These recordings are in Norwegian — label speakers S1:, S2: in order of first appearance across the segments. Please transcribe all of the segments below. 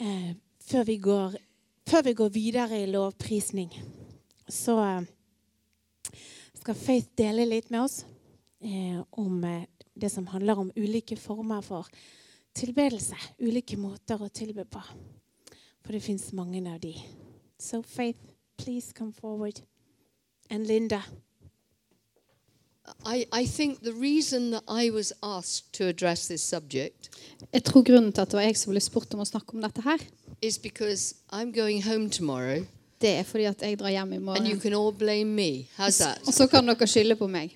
S1: Eh, før vi går, før vi går videre i lovprisning, så eh, skal Faith dele litt med oss eh, om eh, det som handler om ulike former for tilbedelse. Ulike måter å tilbe på. For det fins mange av de. So Faith, please come forward. And Linda.
S2: I, I think the reason that I was asked to address this subject
S3: Jeg tror grunnen til at det var jeg som ble spurt om å snakke om dette her,
S2: is because I'm going home tomorrow
S3: det er fordi at jeg drar hjem i
S2: and you
S3: morgen.
S2: can all blame me. How's that?
S3: Og så kan dere skylde på meg.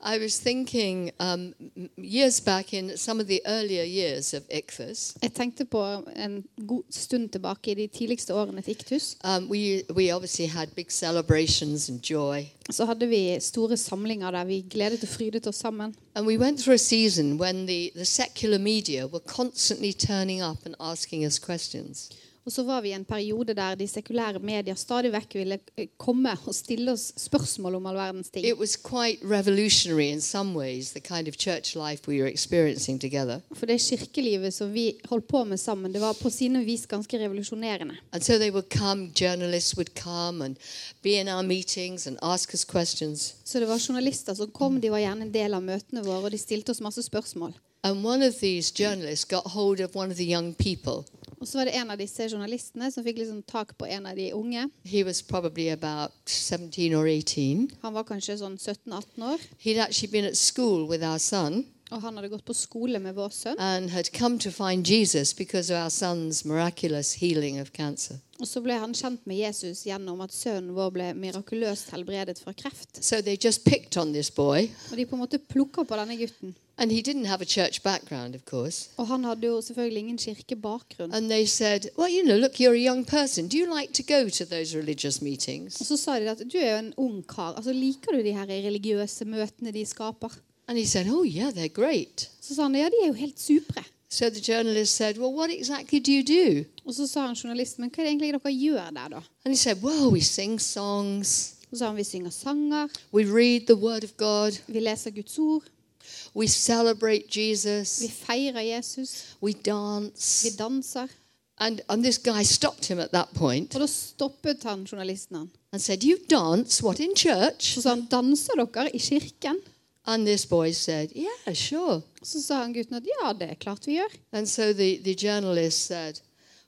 S2: I was thinking um, m- years back in some of the earlier years of ICFAS,
S3: Jeg tenkte på en god stund tilbake i de tidligste årene til Iktus.
S2: um, we, we obviously had big celebrations and joy.
S3: Så hadde vi store samlinger der vi gledet og frydet oss sammen.
S2: And we went through a season when the, the secular media were constantly turning up and asking us questions.
S3: Og så var vi i en periode der de sekulære medier stadig vekk ville eh, komme og stille oss spørsmål om all verdens ting.
S2: It was quite revolutionary in some ways, the kind of church life we were experiencing together.
S3: For det kirkelivet som vi holdt på med sammen, det var på sine vis ganske revolusjonerende.
S2: And so they would come, journalists would come and be in our meetings and ask us questions.
S3: Så det var journalister som kom, de var gjerne en del av møtene våre, og de stilte oss masse spørsmål.
S2: And one of these journalists got hold of one of the young people.
S3: Og så var det en av disse journalistene som fikk liksom tak på en av de unge.
S2: He was probably about 17 or 18.
S3: Han var kanskje sånn 17-18 år,
S2: He'd actually been at school with our son
S3: og han hadde gått på skole med vår sønn.
S2: and had come to find Jesus because of our son's miraculous healing of cancer.
S3: Og så ble han kjent med Jesus gjennom at sønnen vår ble mirakuløst helbredet fra kreft.
S2: So they just picked on this boy.
S3: Og de på en måte plukka på denne gutten.
S2: And he didn't have a church background, of course.
S3: Og han hadde jo selvfølgelig ingen kirkebakgrunn.
S2: And they said, Well, you know, look, you're a young person. Do you like to go to those religious meetings?
S3: Og så sa de at du er jo en ung kar, altså liker du de her religiøse møtene de skaper?
S2: And he said, Oh, yeah, they're great.
S3: Så sa han ja, de er jo helt supre.
S2: So the journalist said, Well, what exactly do you do?
S3: Og så sa han journalisten, men hva er det egentlig dere gjør der, da?
S2: And he said, Well, we sing songs,
S3: Så sa han vi synger sanger,
S2: we read the Word of God,
S3: vi leser Guds ord,
S2: we celebrate
S3: vi
S2: Jesus,
S3: feirer Jesus,
S2: we
S3: vi
S2: dance.
S3: danser.
S2: And, and this guy stopped him at that point
S3: Og da stoppet han journalisten han.
S2: and said, You dance? What, in church?
S3: Så sa han, danser dere i kirken?
S2: And this boy said, Yeah, sure.
S3: Så sa han gutten at ja, det er klart vi gjør.
S2: And so the, the journalist said,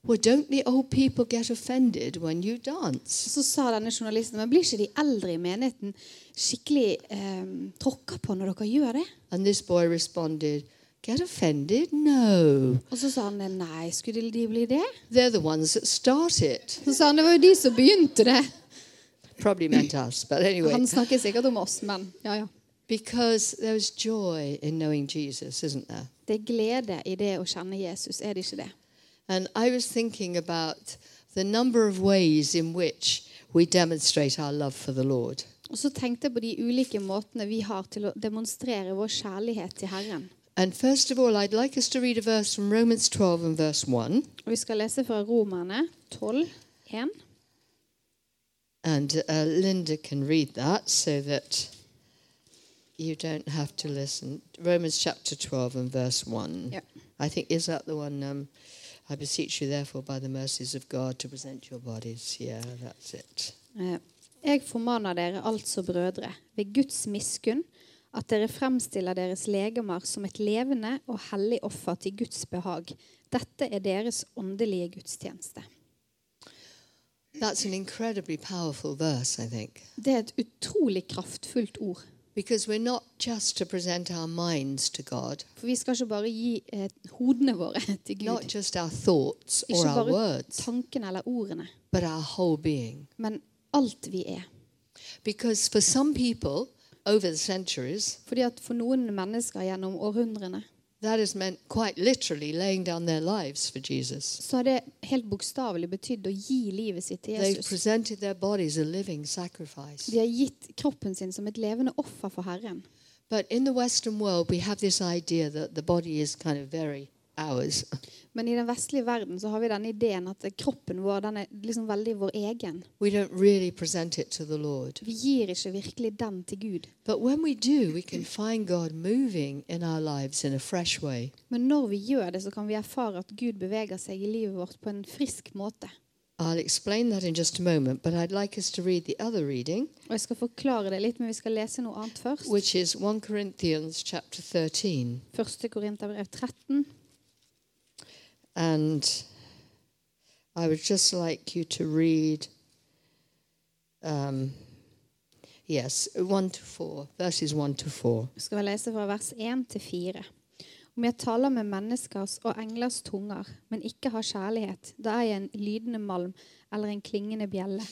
S2: Well, don't the old people get offended when you dance?
S3: Så sa denne journalisten, men blir ikke de eldre i menigheten skikkelig eh, tråkka på når dere gjør det?
S2: And this boy responded, Get offended? No.
S3: Og så sa han nei, skulle de bli det?
S2: They're the ones that start it.
S3: Så sa han det var jo de som begynte det.
S2: Probably meant us, but anyway.
S3: Han snakker sikkert om oss, men ja, ja.
S2: Because there's joy in knowing Jesus, isn't there?
S3: Det er glede i det å kjenne Jesus, er det ikke det?
S2: And I was thinking about the number of ways in which we demonstrate our love for the Lord.
S3: Og så tenkte jeg på de ulike måtene vi har til å demonstrere vår kjærlighet til Herren.
S2: And first of all, I'd like us to read a verse from Romans 12 and verse 1.
S3: Og vi skal lese fra Romerne 12, 1.
S2: And uh, Linda can read that so that you don't have to listen. Romans chapter 12 and verse 1.
S3: Yeah.
S2: I think, is that the one? Um, I beseech you, therefore, by the mercies of God, to present your bodies. Yeah, that's it.
S3: Eh, Jeg formaner dere altså, brødre, ved Guds miskunn, at dere fremstiller deres legemer som et levende og hellig offer til Guds behag. Dette er deres åndelige gudstjeneste.
S2: That's an incredibly powerful verse, I think,
S3: Det er et utrolig kraftfullt ord.
S2: because we're not just to present our minds to God,
S3: For vi skal ikke bare gi eh, hodene våre til
S2: not
S3: Gud.
S2: just our thoughts or
S3: Ikke
S2: our
S3: bare
S2: words,
S3: tankene eller ordene,
S2: but our whole being.
S3: men alt vi er.
S2: Because for some people over the centuries,
S3: Fordi at for noen mennesker gjennom århundrene
S2: That has meant quite literally laying down their lives for Jesus.
S3: så har det helt bokstavelig betydd å gi livet sitt til
S2: They've
S3: Jesus.
S2: presented their bodies a living sacrifice.
S3: De har gitt kroppen sin som et levende offer for Herren.
S2: But in the Western world, we have this idea that the body is kind of very ours.
S3: Men i den vestlige verden så har vi denne ideen at kroppen vår den er liksom veldig vår egen.
S2: We don't really present it to the Lord.
S3: Vi gir ikke virkelig den til Gud.
S2: But when we do, we can find God moving in our lives in a fresh way.
S3: Men når vi gjør det, så kan vi erfare at Gud beveger seg i livet vårt på en frisk måte.
S2: I'll explain that in just a moment, but I'd like us to read the other reading,
S3: Og jeg skal forklare det litt, men vi skal lese noe annet først.
S2: which is 1 Corinthians chapter 13.
S3: 1. Korinterbrev 13.
S2: And I would just like you to read, um, yes, 1 to 4, verses 1 to 4.
S3: Jeg skal lese fra vers 1 til 4. Om jeg taler med menneskers og englers tunger, men ikke har kjærlighet, da er jeg en lydende malm eller en klingende bjelle.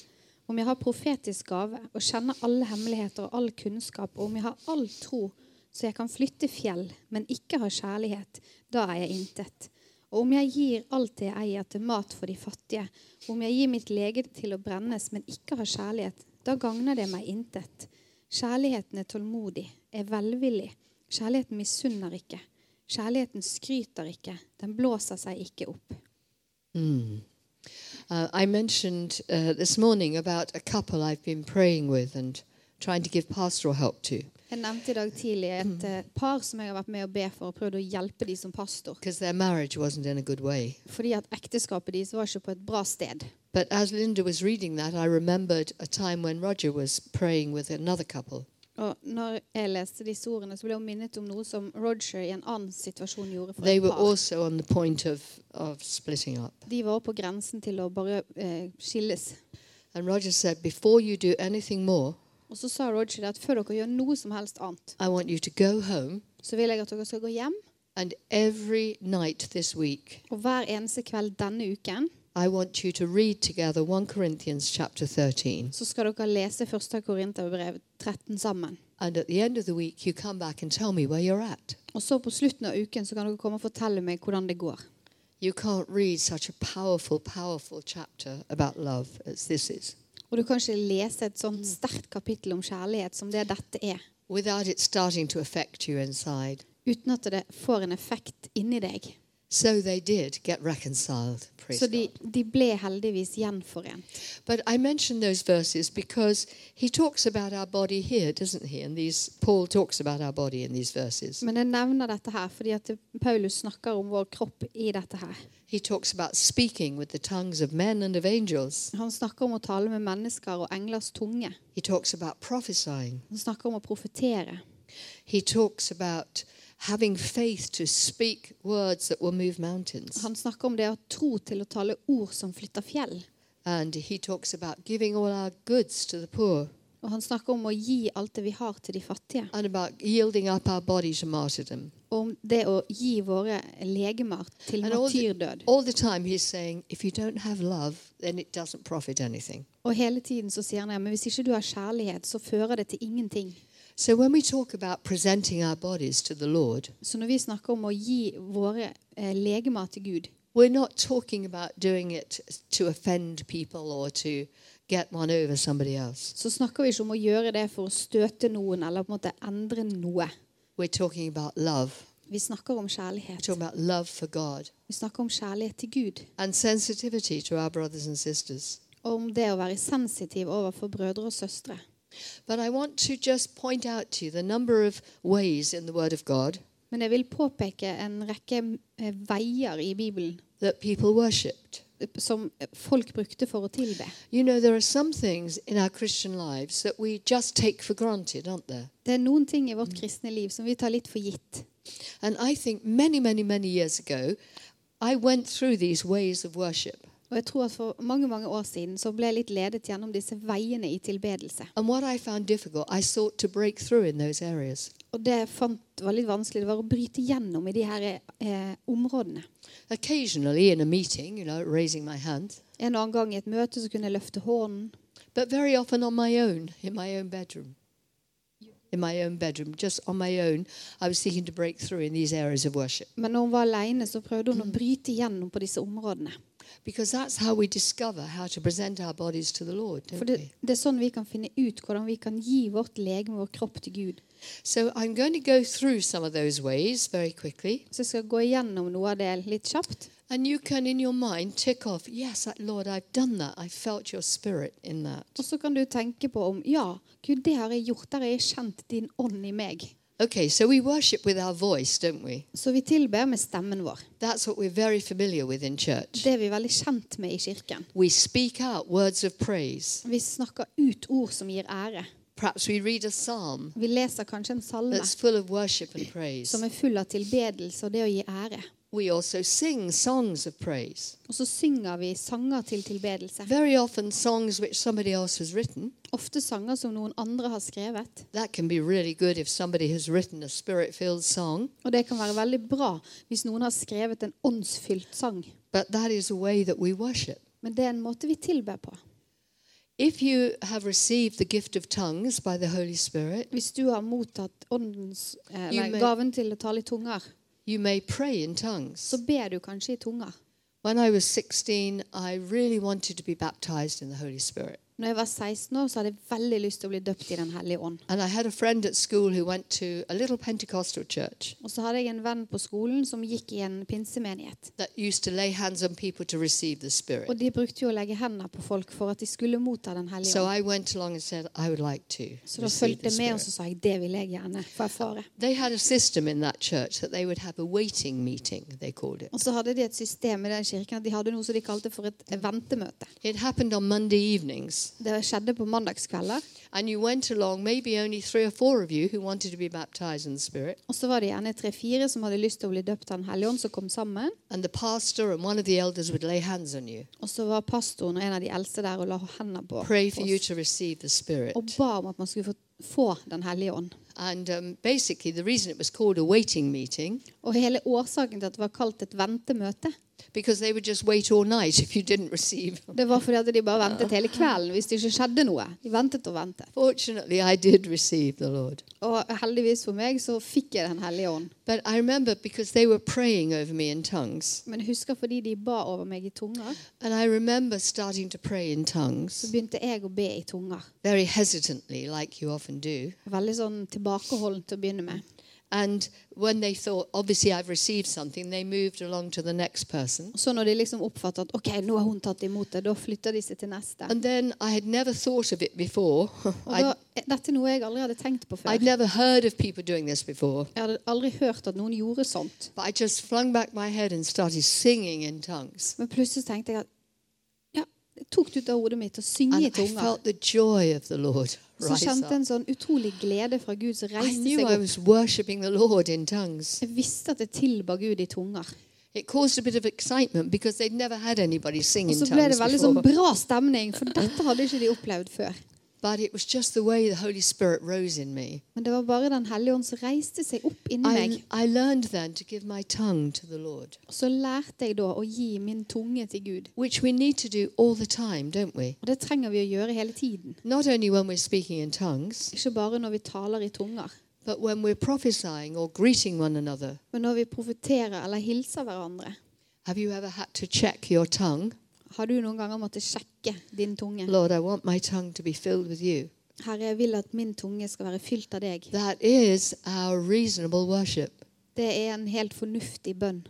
S3: Om jeg har profetisk gave og kjenner alle hemmeligheter og all kunnskap, og om jeg har all tro så jeg kan flytte fjell, men ikke har kjærlighet, da er jeg intet. Og om jeg gir alt det jeg eier til mat for de fattige, og om jeg gir mitt legete til å brennes, men ikke har kjærlighet, da gagner det meg intet. Kjærligheten er tålmodig, er velvillig. Kjærligheten misunner ikke. Kjærligheten skryter ikke. Den blåser seg ikke opp.
S2: Hmm. Uh, I mentioned uh, this morning about a couple I've been praying with and trying to give pastoral help to
S3: Jeg nevnte i dag tidlig et eh, par som jeg har vært med å be for og prøvd å hjelpe de som pastor.
S2: because their marriage wasn't in a good way.
S3: Fordi at ekteskapet deres var ikke på et bra sted.
S2: But as Linda was reading that, I remembered a time when Roger was praying with another couple.
S3: Og når jeg leste disse ordene, så ble jeg minnet om noe som Roger i en annen situasjon gjorde for
S2: They
S3: et
S2: were
S3: par.
S2: also on the point of, of splitting up.
S3: De var også på grensen til å bare eh, skilles.
S2: And Roger said, Before you do anything more,
S3: Og så sa Roger det at før dere gjør noe som helst annet,
S2: I want you to go home
S3: så vil jeg at dere skal gå hjem,
S2: and every night this week,
S3: og hver eneste kveld denne uken
S2: I want you to read together 1 Corinthians chapter 13.
S3: så skal dere lese 1. Korinterbrev 13 sammen.
S2: And at the end of the week, you come back and tell me where you're at.
S3: Og så på slutten av uken så kan dere komme og fortelle meg hvordan det går.
S2: You can't read such a powerful, powerful chapter about love as this is
S3: Og du kan ikke lese et sånt sterkt kapittel om kjærlighet som det dette er,
S2: without it starting to affect you inside.
S3: uten at det får en effekt inni deg.
S2: So they did get reconciled. Praise
S3: Så de,
S2: God.
S3: de ble heldigvis gjenforent.
S2: But I mention those verses because he talks about our body here, doesn't he? And these Paul talks about our body in these verses.
S3: Men jeg nevner dette her fordi at Paulus snakker om vår kropp i dette her.
S2: He talks about speaking with the tongues of men and of angels.
S3: Han snakker om å tale med mennesker og englers tunge.
S2: He talks about prophesying.
S3: Han snakker om å profetere.
S2: He talks about having faith to speak words that will move mountains.
S3: Han snakker om det å tro til å tale ord som flytter fjell.
S2: And he talks about giving all our goods to the poor
S3: Og han snakker om å gi alt det vi har til de fattige.
S2: and about yielding up our body to martyrdom.
S3: Og om det å gi våre legemer til
S2: And all the,
S3: martyrdød.
S2: all the time he's saying, if you don't have love, then it doesn't profit anything.
S3: Og hele tiden så sier han ja, men hvis ikke du har kjærlighet, så fører det til ingenting.
S2: So when we talk about presenting our bodies to the Lord,
S3: Så når vi snakker om å gi våre eh, legemer til Gud,
S2: we're not talking about doing it to offend people or to get one over somebody else.
S3: så snakker vi ikke om å gjøre det for å støte noen eller på en måte endre noe.
S2: We're talking about love.
S3: Vi snakker om
S2: We're
S3: kjærlighet.
S2: talking about love for God
S3: Vi snakker om kjærlighet til Gud.
S2: and sensitivity to our brothers and sisters.
S3: Og om det å være sensitiv overfor brødre og søstre.
S2: But I want to just point out to you the number of ways in the Word of God
S3: Men jeg vil påpeke en rekke eh, veier i Bibelen
S2: that people worshipped.
S3: eh, som folk brukte for å tilbe.
S2: You know, there are some things in our Christian lives that we just take for granted, aren't there?
S3: Det er noen ting i vårt kristne liv som vi tar litt for gitt.
S2: And I think many, many, many years ago, I went through these ways of worship.
S3: Og jeg tror at For mange mange år siden så ble jeg litt ledet gjennom disse veiene i tilbedelse.
S2: And what I found difficult, I sought to break through in those areas.
S3: Og Det jeg fant var litt vanskelig. Det var å bryte gjennom i de her eh, områdene.
S2: Occasionally in a meeting, you know, raising my hand,
S3: En annen gang i et møte så kunne jeg løfte hånden.
S2: but very often on my own, in my own bedroom. in my own bedroom, just on my own. I was seeking to break through in these areas of worship
S3: Men når hun var alene, så prøvde hun å bryte igjennom på disse områdene.
S2: because that's how we discover how to present our bodies to the Lord, don't
S3: For det,
S2: we?
S3: det er sånn vi kan finne ut hvordan vi kan gi vårt legeme, vår kropp, til Gud.
S2: So I'm going to go through some of those ways very quickly.
S3: Så jeg skal gå igjennom noe av det litt kjapt.
S2: And you can, in your mind, tick off, yes, I- Lord, I've done that. I felt your spirit in that.
S3: Og så kan du tenke på om Ja, Gud, det har jeg gjort. Der har jeg kjent din ånd i meg.
S2: Okay, so we worship with our voice, don't we?
S3: Så vi tilber med stemmen vår.
S2: That's what we're very familiar with in church.
S3: Det er vi veldig kjent med i kirken.
S2: We speak out words of praise.
S3: Vi snakker ut ord som gir ære.
S2: Perhaps we read a psalm
S3: Vi leser kanskje en salme
S2: that's full of worship and praise.
S3: som er full av tilbedelse og det å gi ære.
S2: We also sing songs of praise.
S3: Og så synger vi sanger til tilbedelse.
S2: Very often, songs which somebody else has written.
S3: Ofte sanger som noen andre har skrevet.
S2: That can be really good if somebody has written a spirit filled song,
S3: Og det kan være veldig bra hvis noen har skrevet en åndsfylt sang.
S2: but that is a way that we worship.
S3: Men det er en måte vi tilber på.
S2: If you have received the gift of tongues by the Holy Spirit,
S3: Hvis du har mottatt åndens, eh,
S2: You
S3: nei,
S2: may-
S3: gaven til å tale i tunger,
S2: you may pray in tongues.
S3: så ber du kanskje i tunger.
S2: When I was 16, I really wanted to be baptized in the Holy Spirit.
S3: Når jeg var 16 år, så hadde jeg veldig lyst til å bli døpt i Den hellige ånd.
S2: And I had a friend at school who went to a little Pentecostal church
S3: Og så hadde jeg en venn på skolen som gikk i en pinsemenighet.
S2: that used to lay hands on people to receive the
S3: Og
S2: Spirit.
S3: de brukte jo å legge hendene på folk for at de skulle motta Den hellige
S2: So
S3: ånd.
S2: I went along and said, I would like to.
S3: Så da
S2: Receive
S3: fulgte
S2: the
S3: jeg med, og
S2: Spirit.
S3: så sa jeg det vil jeg gjerne få erfare.
S2: They had a system in that church that they would have a waiting meeting, they called it.
S3: Og så hadde de et system i den kirken at de hadde noe som de kalte for et ventemøte.
S2: It happened on Monday evenings.
S3: Det skjedde på mandagskvelder.
S2: And you went along, maybe only three or four of you who wanted to be baptized in the Spirit.
S3: Og så var det gjerne tre-fire som hadde lyst til å bli døpt av Den hellige ånd, som kom sammen.
S2: And the pastor and one of the elders would lay hands on you,
S3: Og så var pastoren og en av de eldste der og la hendene på
S2: pray for you
S3: oss
S2: to receive the Spirit.
S3: og ba om at man skulle få, få Den hellige ånd.
S2: And um, basically, the reason it was called a waiting meeting,
S3: Og hele årsaken til at det var kalt et ventemøte,
S2: because they would just wait all night if you didn't receive.
S3: det var fordi at de bare ventet hele kvelden hvis det ikke skjedde noe. De ventet og ventet.
S2: Fortunately, I did receive the Lord.
S3: Og heldigvis for meg så fikk jeg Den hellige ånd.
S2: But I remember because they were praying over me in tongues.
S3: Men jeg husker fordi de ba over meg i tunger,
S2: And I remember starting to pray in
S3: så
S2: tongues
S3: begynte jeg å be i tunger.
S2: very hesitantly, like you often do.
S3: Veldig sånn tilbakeholden til å begynne med.
S2: And when they thought, obviously, I've received something, they moved along to the next person.
S3: Og så når de liksom oppfatter at ok, nå har hun tatt imot det, da flytter de seg til neste.
S2: And then I had never thought of it before.
S3: Og
S2: I'd,
S3: da, eh, dette er noe jeg aldri hadde tenkt på
S2: I'd
S3: før.
S2: never heard of people doing this before.
S3: Jeg hadde aldri hørt at noen gjorde sånt.
S2: But I just flung back my head and started singing in tongues.
S3: Men plutselig så tenkte jeg at ja, det tok det ut av hodet mitt å synge
S2: And
S3: i
S2: I
S3: tunger.
S2: felt the joy of the Lord
S3: Så
S2: rise
S3: kjente jeg
S2: up.
S3: en sånn utrolig glede fra Gud som
S2: I
S3: reiste
S2: knew
S3: seg
S2: I
S3: opp.
S2: was worshipping the Lord in tongues.
S3: Jeg visste at jeg tilba Gud i tunger.
S2: It caused a bit of excitement because they'd never had anybody sing
S3: Og
S2: in
S3: så ble det
S2: tongues
S3: veldig sånn
S2: before.
S3: bra stemning, for dette hadde ikke de opplevd før.
S2: But it was just the way the Holy Spirit rose in me.
S3: Men det var bare Den hellige ånd som reiste seg opp inni meg.
S2: I, I learned then to give my tongue to the Lord,
S3: Og så lærte jeg da å gi min tunge til Gud.
S2: which we need to do all the time, don't we?
S3: Og det trenger vi å gjøre hele tiden.
S2: Not only when we're speaking in tongues,
S3: Ikke bare når vi taler i tunger,
S2: but when we're prophesying or greeting one another.
S3: men når vi profeterer eller hilser hverandre.
S2: Have you ever had to check your tongue?
S3: Har du noen ganger måttet sjekke din tunge?
S2: Lord, I want my tongue to be filled with you.
S3: Herre, jeg vil at min tunge skal være fylt av deg.
S2: That is our reasonable worship.
S3: Det er en helt fornuftig bønn.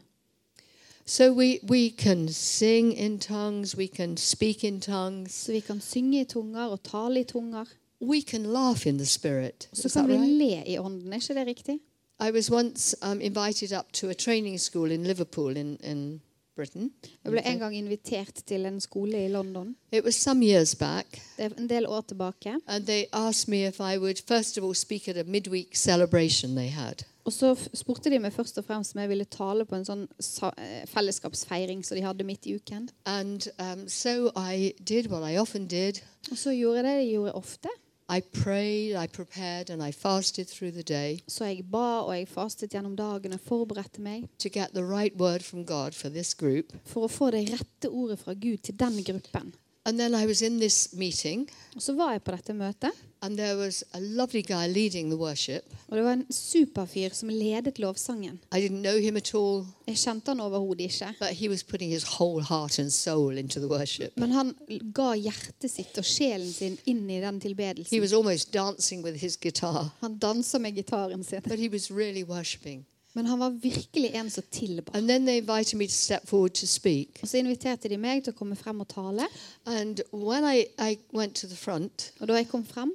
S2: So we, we can sing in tongues, we can speak in tongues,
S3: Så vi kan synge i tunger og tale i tunger.
S2: we can laugh in the spirit.
S3: Så
S2: Is that
S3: kan vi
S2: right?
S3: le i ånden. Er ikke det riktig?
S2: I was once um, invited up to a training school in Liverpool in, in Britain.
S3: Jeg ble en gang invitert til en skole i London.
S2: It was some years back,
S3: Det er en del år tilbake.
S2: and they asked me if I would first of all speak at a midweek celebration they had.
S3: Og så f- spurte de meg først og fremst om jeg ville tale på en sånn sa- eh, fellesskapsfeiring som de hadde midt i uken.
S2: And um, so I did what I often did.
S3: Og så gjorde jeg det jeg gjorde ofte.
S2: I prayed, I prepared, and I fasted through the day.
S3: Så jeg ba og jeg fastet gjennom dagen og forberedte meg
S2: to get the right word from God for this group.
S3: for å få det rette ordet fra Gud til den gruppen.
S2: And then I was in this meeting,
S3: Og så var jeg på dette møtet,
S2: and there was a lovely guy leading the worship.
S3: og det var en superfyr som ledet lovsangen.
S2: I didn't know him at all,
S3: Jeg kjente han overhodet ikke,
S2: but he was putting his whole heart and soul into the worship.
S3: men han ga hjertet sitt og sjelen sin inn i den
S2: He
S3: tilbedelsen.
S2: was almost dancing with his guitar,
S3: Han dansa med gitaren sin,
S2: but he was really worshiping.
S3: men han var virkelig en som tilba.
S2: And then they invited me to step forward to speak.
S3: Og så inviterte de meg til å komme frem og tale,
S2: And when I, I went to the front,
S3: og da jeg kom frem,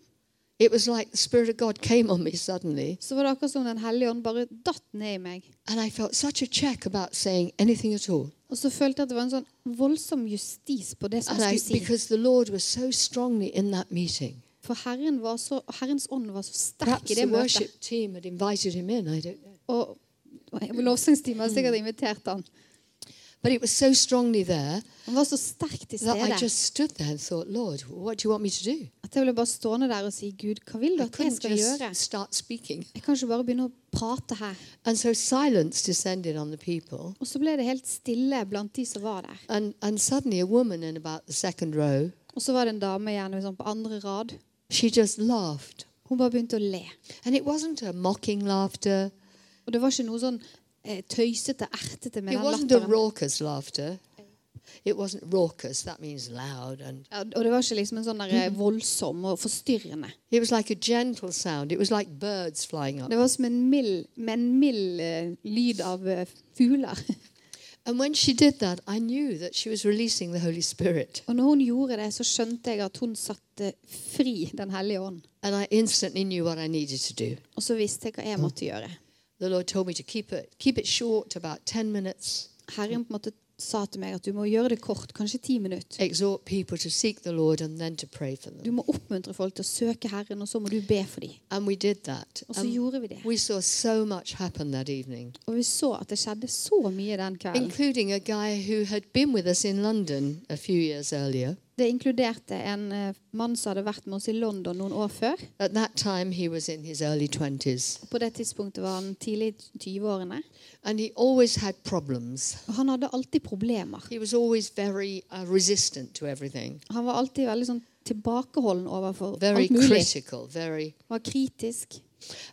S2: it was like the Spirit of God came on me suddenly.
S3: så var det akkurat som Den hellige ånd bare datt ned i meg.
S2: And I felt such a check about saying anything at all.
S3: Og så følte jeg at det var en sånn voldsom justis på det som
S2: And I,
S3: jeg skulle si.
S2: because the Lord was so strongly in that meeting.
S3: For Herren var så, Herrens ånd var så sterk
S2: Perhaps
S3: i
S2: the
S3: det møtet.
S2: worship team had invited him in, I don't know.
S3: Og, og lovsangstimen har sikkert invitert han.
S2: But it was so strongly there
S3: Han var så sterk til
S2: that I
S3: stede
S2: just stood there and thought, Lord, what do you want me to do?
S3: at jeg ble bare stående der og si Gud, hva vil du
S2: I
S3: at jeg
S2: couldn't
S3: skal gjøre?
S2: just start speaking.
S3: Jeg kan ikke bare begynne å prate her.
S2: And so silence descended on the people.
S3: Og så ble det helt stille blant de som var der.
S2: And, and suddenly a woman in about the second row,
S3: Og så var det en dame gjerne sånn på andre rad.
S2: she just laughed.
S3: Hun bare begynte å le.
S2: And it wasn't a mocking laughter.
S3: Og det var ikke noe sånn eh, tøysete, ertete med
S2: It
S3: den
S2: wasn't a
S3: latteren.
S2: raucous laughter. It wasn't raucous. That means loud. And
S3: Ja, Og det var ikke liksom en sånn der, eh, voldsom og forstyrrende.
S2: it was like a gentle sound. It was like birds flying up.
S3: Det var som en mild, med en mild eh, lyd av eh, fugler.
S2: And when she did that, I knew that she was releasing the Holy Spirit.
S3: Og når hun gjorde det, så skjønte jeg at hun satte fri Den hellige ånd.
S2: And I instantly knew what I needed to do.
S3: Og så visste jeg hva jeg måtte gjøre.
S2: The Lord told me to keep it keep it short, about ten minutes.
S3: Herren på en måte sa til meg at du må gjøre det kort, kanskje ti minutter.
S2: Exhort people to seek the Lord and then to pray for
S3: Du
S2: them.
S3: må oppmuntre folk til å søke Herren, og så må du be for dem.
S2: And we did that.
S3: Og så
S2: And
S3: gjorde vi det.
S2: we saw so much happen that evening,
S3: Og vi så at det skjedde så mye den kvelden.
S2: including a guy who had been with us in London a few years earlier.
S3: Det inkluderte en eh, mann som hadde vært med oss i London noen år før.
S2: At that time, he was in his early 20s,
S3: På det tidspunktet var han tidlig i 20-årene.
S2: and he always had problems.
S3: Og han hadde alltid problemer.
S2: He was always very uh, resistant to everything,
S3: Han var alltid veldig sånn tilbakeholden overfor
S2: very
S3: alt mulig.
S2: critical, very.
S3: Han var kritisk.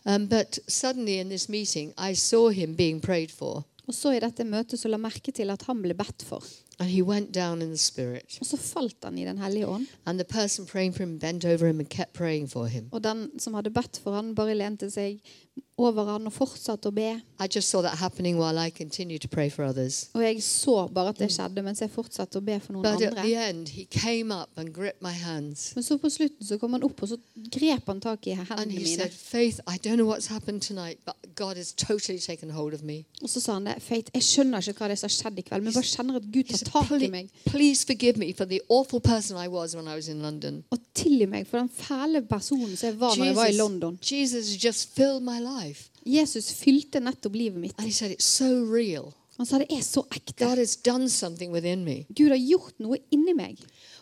S2: Um, but suddenly, in this meeting, I saw him being prayed for,
S3: Og så i dette møtet så la jeg merke til at han ble bedt for.
S2: and he went down in the spirit.
S3: Og så falt han i Den hellige ånd.
S2: And the person praying for him bent over him and kept praying for him.
S3: Og den som hadde bedt for han bare lente seg over han og fortsatte å be.
S2: I just saw that happening while I continued to pray for others.
S3: Og jeg så bare at det skjedde, mens jeg fortsatte å be for noen
S2: But at the
S3: andre.
S2: end, he came up and gripped my hands.
S3: Men så på slutten så kom han opp, og så grep han tak i
S2: And
S3: hendene
S2: he
S3: mine.
S2: said, Faith, I don't know what's happened tonight, but God has totally taken hold of me.
S3: Og så sa han det. Feit, jeg skjønner ikke hva det er som har skjedd i kveld, men jeg bare kjenner at Gud
S2: He
S3: tar
S2: said,
S3: tak i
S2: "Please-
S3: meg.
S2: please forgive me for the awful person I was when I was in London.
S3: Og tilgi meg for den fæle personen som jeg var når jeg var i London.
S2: Jesus just filled my life.
S3: Jesus fylte nettopp livet mitt.
S2: And he said, It's so real.
S3: Han sa det er så ekte.
S2: God has done something within me.
S3: Gud har gjort noe inni meg.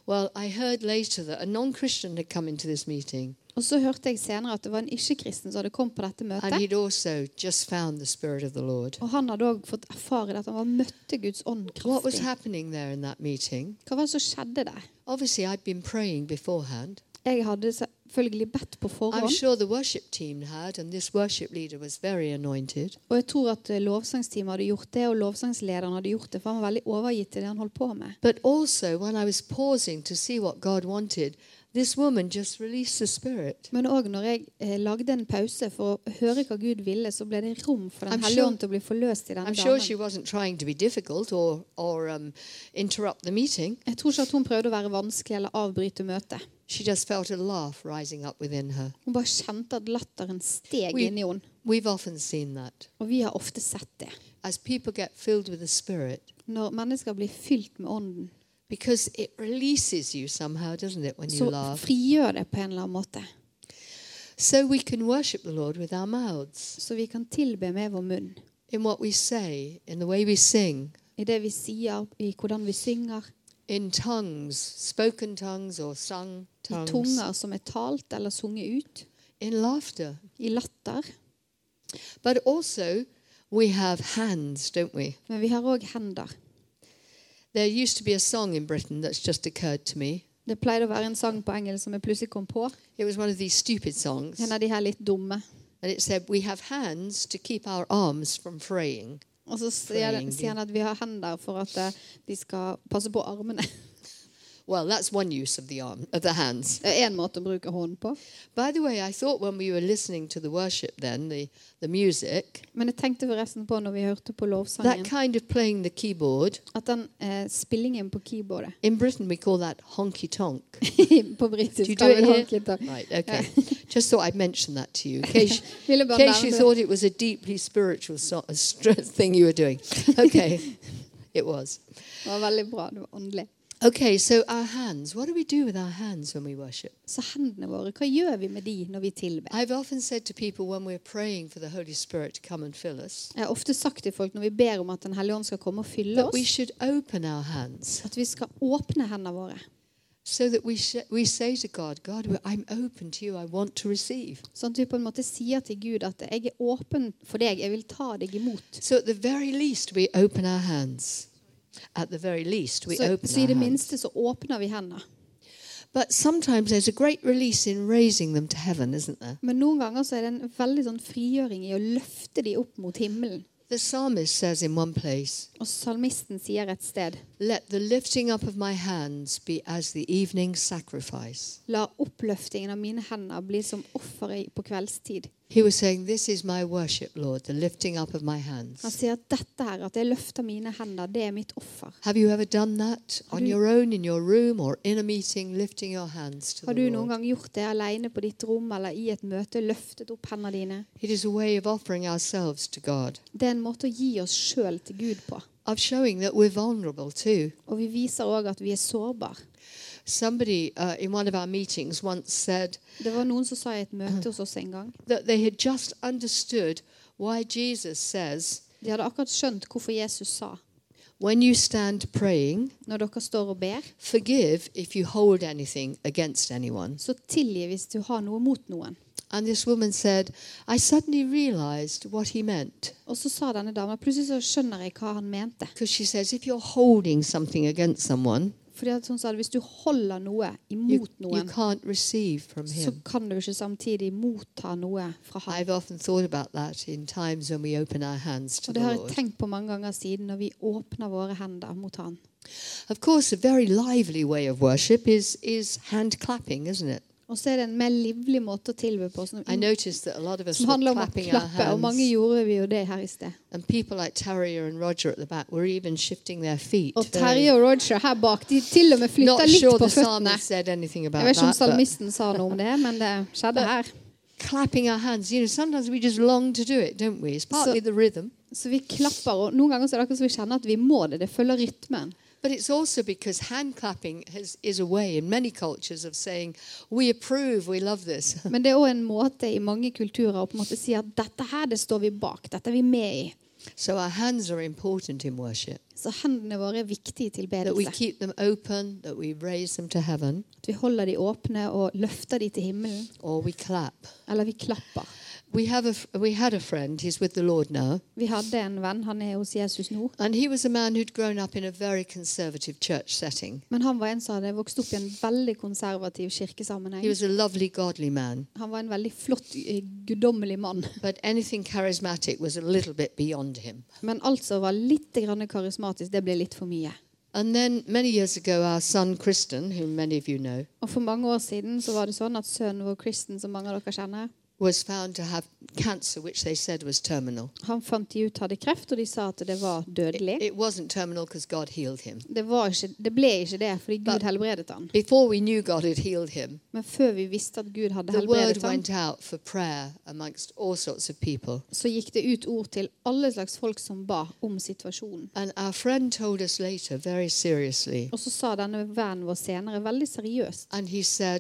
S2: Well, I heard later that a non Christian had come into this meeting.
S3: Og så hørte jeg senere at det var en ikke-kristen som hadde kommet på dette
S2: And
S3: møtet.
S2: he'd also just found the Spirit of the Lord.
S3: Og han hadde òg fått erfare at han var møtte Guds ånd
S2: What was
S3: kraftig.
S2: happening there in that meeting?
S3: Hva var det som skjedde der?
S2: Obviously, I'd been praying beforehand.
S3: Jeg hadde selvfølgelig bedt på
S2: I'm
S3: forhånd,
S2: sure the worship team had, and this worship leader was very anointed.
S3: og jeg tror at eh, lovsangsteamet hadde gjort det, og lovsangslederen hadde gjort det, for han var veldig overgitt til det han holdt på med.
S2: But also, when I was pausing to see what God wanted, this woman just released the Spirit.
S3: Men òg når jeg eh, lagde en pause for å høre hva Gud ville, så ble det rom for
S2: I'm
S3: Den hellige
S2: sure-
S3: ånd til å bli forløst i denne
S2: I'm sure
S3: damen.
S2: she wasn't trying to be difficult or, or um, interrupt the meeting.
S3: Jeg tror ikke at hun prøvde å være vanskelig eller avbryte møtet.
S2: She just felt a laugh rising up within her.
S3: Hun bare kjente at latteren steg
S2: We-
S3: inni henne.
S2: We've often seen that.
S3: Og vi har ofte sett det.
S2: As people get filled with the Spirit,
S3: Når mennesker blir fylt med ånden,
S2: Because it releases you somehow, doesn't it, when you
S3: så
S2: laugh?
S3: frigjør det på en eller annen måte.
S2: So we can worship the Lord with our mouths,
S3: Så vi kan tilbe med vår munn.
S2: in what we say, in the way we sing,
S3: I det vi sier, i hvordan vi synger,
S2: in tongues, spoken tongues or sung
S3: i
S2: tongues,
S3: tunger som er talt eller sunget ut,
S2: in laughter.
S3: i latter.
S2: But also, we have hands, don't we?
S3: Men vi har òg hender.
S2: There used to be a song in Britain that's just occurred to me.
S3: Det pleide å være en sang på engelsk som jeg plutselig kom på.
S2: It was one of these stupid songs.
S3: En av de her litt dumme.
S2: And it said, We have hands to keep our arms from fraying.
S3: Og så sier den- sier han at vi har hender for at eh, de skal passe på armene.
S2: Well, that's one use of the arm of the hands.
S3: Det er én måte å bruke hånden på.
S2: By the way, I thought when we were listening to the worship then, the, the music,
S3: Men jeg tenkte forresten på når vi hørte på
S2: that
S3: lovsangen,
S2: kind of playing the keyboard,
S3: at den eh, spillingen på keyboardet
S2: in Britain we call that honky tonk.
S3: på britisk
S2: Do you do
S3: kaller
S2: it
S3: vi det
S2: here?
S3: honky-tonk.
S2: Right, okay. Uh, Just thought I'd mention that to you in case,
S3: Ville
S2: in
S3: bare
S2: case you
S3: nevne-
S2: thought it was a deeply spiritual so- uh, str- thing you were doing. Okay, it was.
S3: Det var veldig bra. Det var åndelig.
S2: Okay, so our hands. What do we do with our hands when we worship?
S3: Så hendene våre, hva gjør vi med de når vi tilber?
S2: I've often said to people when we're praying for the Holy Spirit to come and fill us
S3: Jeg har ofte sagt til folk når vi ber om at Den hellige ånd skal komme og fylle
S2: that we
S3: oss,
S2: should open our hands
S3: at vi skal åpne hendene våre.
S2: so that we, sh- we say to God, God, I'm open to you. I want to receive.
S3: Sånn at vi på en måte sier til Gud at 'jeg er åpen for deg, jeg vil ta deg imot'.
S2: So at the very least, we open our hands. At the very least, we
S3: Så,
S2: open
S3: så i
S2: our
S3: det
S2: hands.
S3: minste så åpner vi hendene.
S2: But sometimes there's a great release in raising them to heaven, isn't there?
S3: Men noen ganger så er det en veldig sånn frigjøring i å løfte de opp mot himmelen.
S2: The psalmist says in one place,
S3: Og salmisten sier et sted
S2: Let the lifting up of my hands be as the evening sacrifice.
S3: La oppløftingen av mine hender bli som offeret på kveldstid.
S2: He was saying, This is my worship, Lord, the lifting up of my
S3: Han
S2: hands.
S3: sier at dette her, at jeg løfter mine hender, det er mitt offer.
S2: Have you ever done that on
S3: du-
S2: your own, in your room, or in a meeting, lifting your hands to
S3: Har du
S2: the
S3: noen
S2: Lord?
S3: gang gjort det alene på ditt rom eller i et møte, løftet opp hendene dine?
S2: It is a way of offering ourselves to God,
S3: Det er en måte å gi oss sjøl til Gud på.
S2: of showing that we're vulnerable too.
S3: Og vi viser òg at vi er sårbare.
S2: Somebody uh, in one of our meetings once said,
S3: Det var noen som sa i et møte hos oss en gang
S2: that they had just understood why Jesus says,
S3: De hadde akkurat skjønt hvorfor Jesus sa
S2: When you stand praying,
S3: når dere står og ber,
S2: forgive if you hold anything against anyone.
S3: så tilgi hvis du har noe mot noen.
S2: And this woman said, I suddenly realized what he meant.
S3: Og så sa denne dama Plutselig så skjønner jeg hva han mente.
S2: Because she says, if you're holding something against someone,
S3: Fordi at hun sa at hvis du holder noe
S2: you,
S3: imot
S2: you
S3: noen,
S2: can't receive from
S3: så
S2: him.
S3: kan du ikke samtidig motta noe fra ham.
S2: I've often thought about that in times when we open our hands to the
S3: Og det har jeg
S2: Lord.
S3: tenkt på mange ganger siden når vi åpner våre hender mot han.
S2: Of course, a very lively way of worship is, is hand clapping, isn't it?
S3: Og så er det en mer livlig måte å tilby på, som,
S2: I noticed that Mm. a lot of us
S3: som
S2: were
S3: handler om å
S2: clapping our
S3: klappe. Og
S2: hands.
S3: mange gjorde vi jo det her i sted.
S2: And people like Terrier and Roger at the back were even shifting their feet.
S3: Og
S2: Very-
S3: Terje og Roger her bak, de til og med flytta
S2: Not
S3: litt
S2: sure
S3: på
S2: the
S3: føttene.
S2: psalmist said anything
S3: Jeg
S2: about
S3: vet ikke om
S2: that. but
S3: salmisten sa noe om det, men det skjedde her.
S2: clapping our hands, you know, sometimes we just long to do it, don't we? It's partly the rhythm,
S3: Så vi klapper, og noen ganger så er det akkurat som vi kjenner at vi må det. Det følger rytmen.
S2: but it's also because hand clapping has, is a way in many cultures of saying we approve, we love this.
S3: Men det er òg en måte i mange kulturer å på en måte si at dette her, det står vi bak. Dette er vi med i.
S2: So our hands are important in worship.
S3: Så hendene våre er viktige i
S2: That we
S3: tilbedelse.
S2: keep them open, that we raise them to heaven,
S3: At vi holder de åpne og løfter de til himmelen.
S2: or we clap.
S3: Eller vi klapper.
S2: We have a f- we had a friend. He's with the Lord now,
S3: Vi hadde en venn, han er hos Jesus nå.
S2: and he was a man who'd grown up in a very conservative church setting.
S3: Men han var en som hadde vokst opp i en veldig konservativ kirkesammenheng.
S2: He was a lovely, godly man,
S3: Han var en veldig flott, eh, guddommelig mann.
S2: but anything charismatic was a little bit beyond him.
S3: Men alt som var litt grann karismatisk, det ble litt for mye.
S2: And then many years ago, our son Kristen, whom many of you know,
S3: Og For mange år siden så var det sånn at sønnen vår Kristen, som mange av dere kjenner,
S2: was found to have cancer, which they said was terminal.
S3: han fant de ut hadde kreft, og de sa at det var dødelig.
S2: It wasn't terminal because God healed him.
S3: Det, var ikke, det ble ikke det fordi Gud helbredet han.
S2: Before we knew God had healed him,
S3: Men før vi visste at Gud hadde
S2: the word
S3: helbredet han,
S2: went out for prayer amongst all sorts of people.
S3: så gikk det ut ord til alle slags folk som ba om situasjonen.
S2: And our friend told us later, very seriously,
S3: Og så sa denne vennen vår senere, veldig seriøst,
S2: and he said,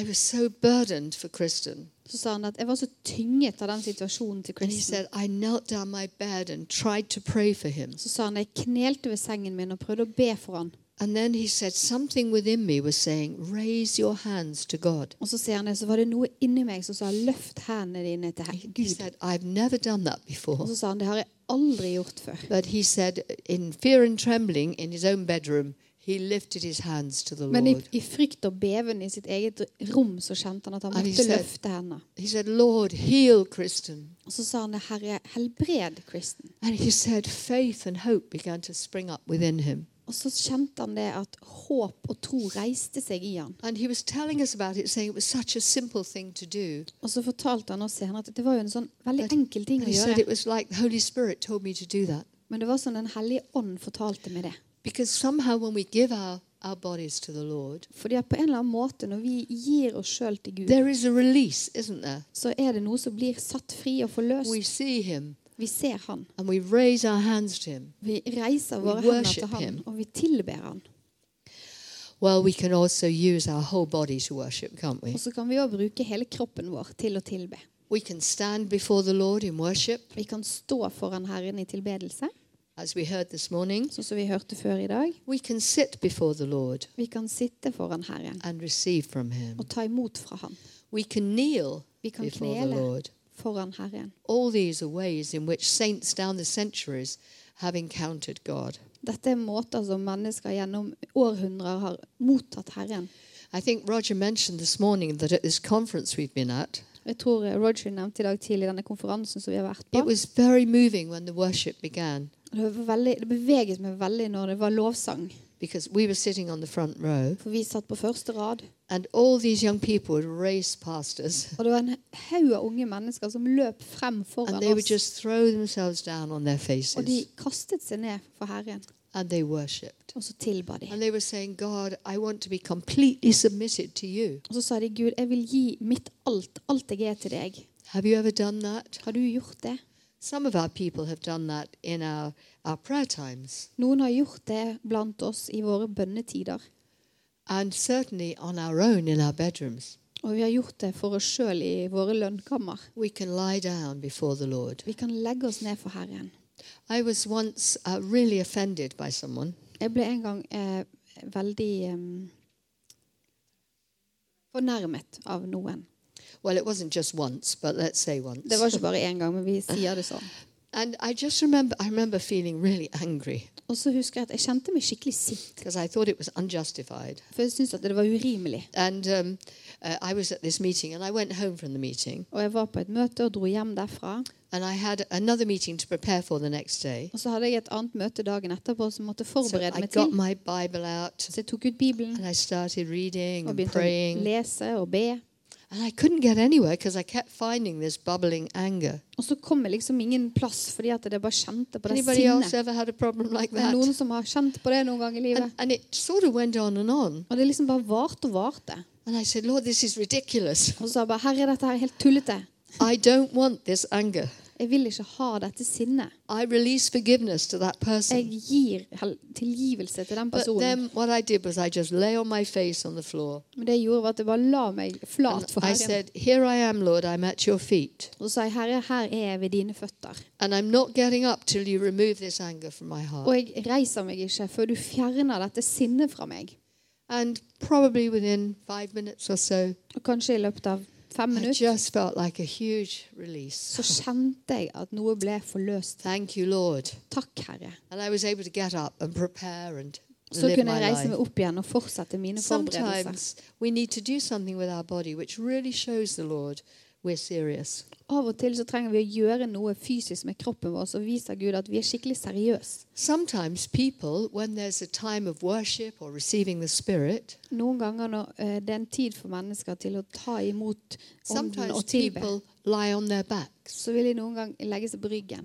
S2: I was so burdened for Kristen.
S3: så sa han at jeg var så tynget av den situasjonen til
S2: And he
S3: Kristen.
S2: said, I knelt down my bed and tried to pray for him.
S3: Så sa han jeg knelte ved sengen min og prøvde å be for han.
S2: And then he said, Something within me was saying, Raise your hands to God.
S3: Og så sier han det, så var det noe inni meg som sa løft hendene dine til he-
S2: He
S3: Gud.
S2: said, I've never done that
S3: Og
S2: before.
S3: så sa han det har jeg aldri gjort før.
S2: But he said, in fear and trembling in his own bedroom, he lifted his hands to the
S3: Men i,
S2: Lord.
S3: i frykt og beven i sitt eget rom så kjente han at han
S2: Ja, de
S3: måtte
S2: ser-
S3: løfte hendene.
S2: He said, Lord, heal Kristen.
S3: Og så sa han det, Herre, helbred Kristen.
S2: And he said, faith and hope began to spring up within him.
S3: Og så kjente han det at håp og tro reiste seg i han.
S2: And he was telling us about it, saying it was such a simple thing to do.
S3: Og så fortalte han oss senere at det var jo en sånn veldig
S2: But-
S3: enkel ting
S2: And
S3: å
S2: he said it
S3: gjøre.
S2: was like the Holy Spirit told me to do that.
S3: Men det var sånn Den hellige ånd fortalte meg det.
S2: Because somehow when we give our, our bodies to the Lord,
S3: Fordi at på en eller annen måte, når vi gir oss sjøl til Gud,
S2: there is a release, isn't there?
S3: så er det noe som blir satt fri og
S2: We
S3: forløst.
S2: see him
S3: Vi ser Han.
S2: and we raise our hands to him.
S3: Vi reiser
S2: We
S3: våre hender
S2: worship
S3: til Han,
S2: him.
S3: og vi tilber Han.
S2: Well, we can also use our whole body to worship, can't we?
S3: Og så kan vi òg bruke hele kroppen vår til å tilbe.
S2: We can stand before the Lord in worship,
S3: Vi kan stå foran Herren i tilbedelse,
S2: as we heard this morning.
S3: sånn som vi hørte før i dag.
S2: We can sit before the Lord
S3: Vi kan sitte foran Herren
S2: and receive from him.
S3: og ta imot fra Han.
S2: We can kneel
S3: Vi kan
S2: before the
S3: knele
S2: Lord.
S3: foran Herren.
S2: All these are ways in which saints down the centuries have encountered God.
S3: Dette er måter som mennesker gjennom århundrer har mottatt Herren.
S2: I think Roger mentioned this morning that at this conference we've been at,
S3: Jeg tror eh, Roger nevnte i dag tidlig denne konferansen som vi har vært på.
S2: it was very moving when the worship began
S3: Det, var veldig, det beveget meg veldig når det var lovsang.
S2: because we were sitting on the front row
S3: For vi satt på første rad,
S2: and all these young people would race past us
S3: og det var en haug av unge mennesker som løp frem foran
S2: and they would
S3: oss.
S2: just throw themselves down on their
S3: Og de
S2: faces
S3: kastet seg ned for Herren,
S2: and they worshipped.
S3: og så tilba de.
S2: And they were saying, God, I want to be completely submitted to you.
S3: Og så sa de, Gud, jeg vil gi mitt alt, alt jeg er til deg.
S2: Have you ever done that?
S3: Har du gjort det?
S2: Some of our people have done that in our, our prayer times
S3: Noen har gjort det blant oss i våre bønnetider.
S2: and certainly on our own in our bedrooms.
S3: Og vi har gjort det for oss sjøl i våre lønnkammer.
S2: We can lie down before the Lord.
S3: Vi kan legge oss ned for Herren.
S2: I was once uh, really offended by someone.
S3: Jeg ble en gang eh, veldig eh, fornærmet av noen.
S2: Well, it wasn't just once, but let's say once.
S3: Det var ikke bare én gang, men vi sier det sånn.
S2: And I just remember, I remember feeling really angry
S3: Og så husker jeg at jeg kjente meg skikkelig sint,
S2: because I thought it was unjustified.
S3: for jeg syntes at det var urimelig.
S2: And um, uh, I was at this meeting and I went home from the meeting
S3: Og jeg var på et møte og dro hjem derfra.
S2: and I had another meeting to prepare for the next day.
S3: Og så hadde jeg et annet møte dagen etterpå som måtte
S2: So
S3: forberede
S2: I
S3: meg
S2: got
S3: til.
S2: my Bible out
S3: Så jeg tok ut Bibelen
S2: and I started reading
S3: og
S2: and
S3: begynte å
S2: praying.
S3: lese og be.
S2: And I couldn't get anywhere because I kept finding this bubbling anger.
S3: Og så kom jeg liksom ingen plass, fordi at jeg bare kjente på det
S2: Anybody else
S3: sinnet.
S2: ever had a problem like
S3: Det er noen
S2: that?
S3: som har kjent på det noen gang i
S2: And,
S3: livet.
S2: and it sort of went on and on.
S3: Og det liksom bare varte og varte.
S2: And I said, Lord, this is ridiculous.
S3: Og så sa jeg bare Herre, dette her er helt tullete.
S2: I don't want this anger.
S3: Jeg vil ikke ha dette sinnet.
S2: I release forgiveness to that
S3: Jeg
S2: person.
S3: gir hel- tilgivelse til den
S2: But
S3: personen.
S2: then what I did was I just lay on my face on the floor.
S3: Men det jeg gjorde, var at jeg bare la meg
S2: And
S3: flat for
S2: I
S3: Herren.
S2: said, Here I am, Lord, I'm at your feet.
S3: Og så sa jeg, Herre, her er jeg ved dine føtter.
S2: And I'm not getting up till you remove this anger from my
S3: Og
S2: heart.
S3: jeg reiser meg ikke før du fjerner dette sinnet fra meg.
S2: And probably within five minutes or so,
S3: Og kanskje i løpet av fem
S2: I
S3: minutter
S2: just felt like a huge
S3: så
S2: release.
S3: kjente jeg at noe ble forløst.
S2: Thank you, Lord.
S3: Takk, Herre.
S2: And I was able to get up and prepare and
S3: Så
S2: live
S3: kunne
S2: my
S3: jeg reise meg
S2: life.
S3: opp igjen og fortsette mine forberedelser.
S2: Sometimes we need to do something with our body which really shows the Lord we're serious.
S3: Av og til så trenger vi å gjøre noe fysisk med kroppen vår som viser Gud at vi er skikkelig seriøse.
S2: Sometimes people, when there's a time of worship or receiving the Spirit,
S3: Noen ganger når eh, det er en tid for mennesker til å ta imot ånden
S2: sometimes
S3: og tilbe,
S2: people lie on their backs.
S3: så vil de noen gang legge seg på ryggen.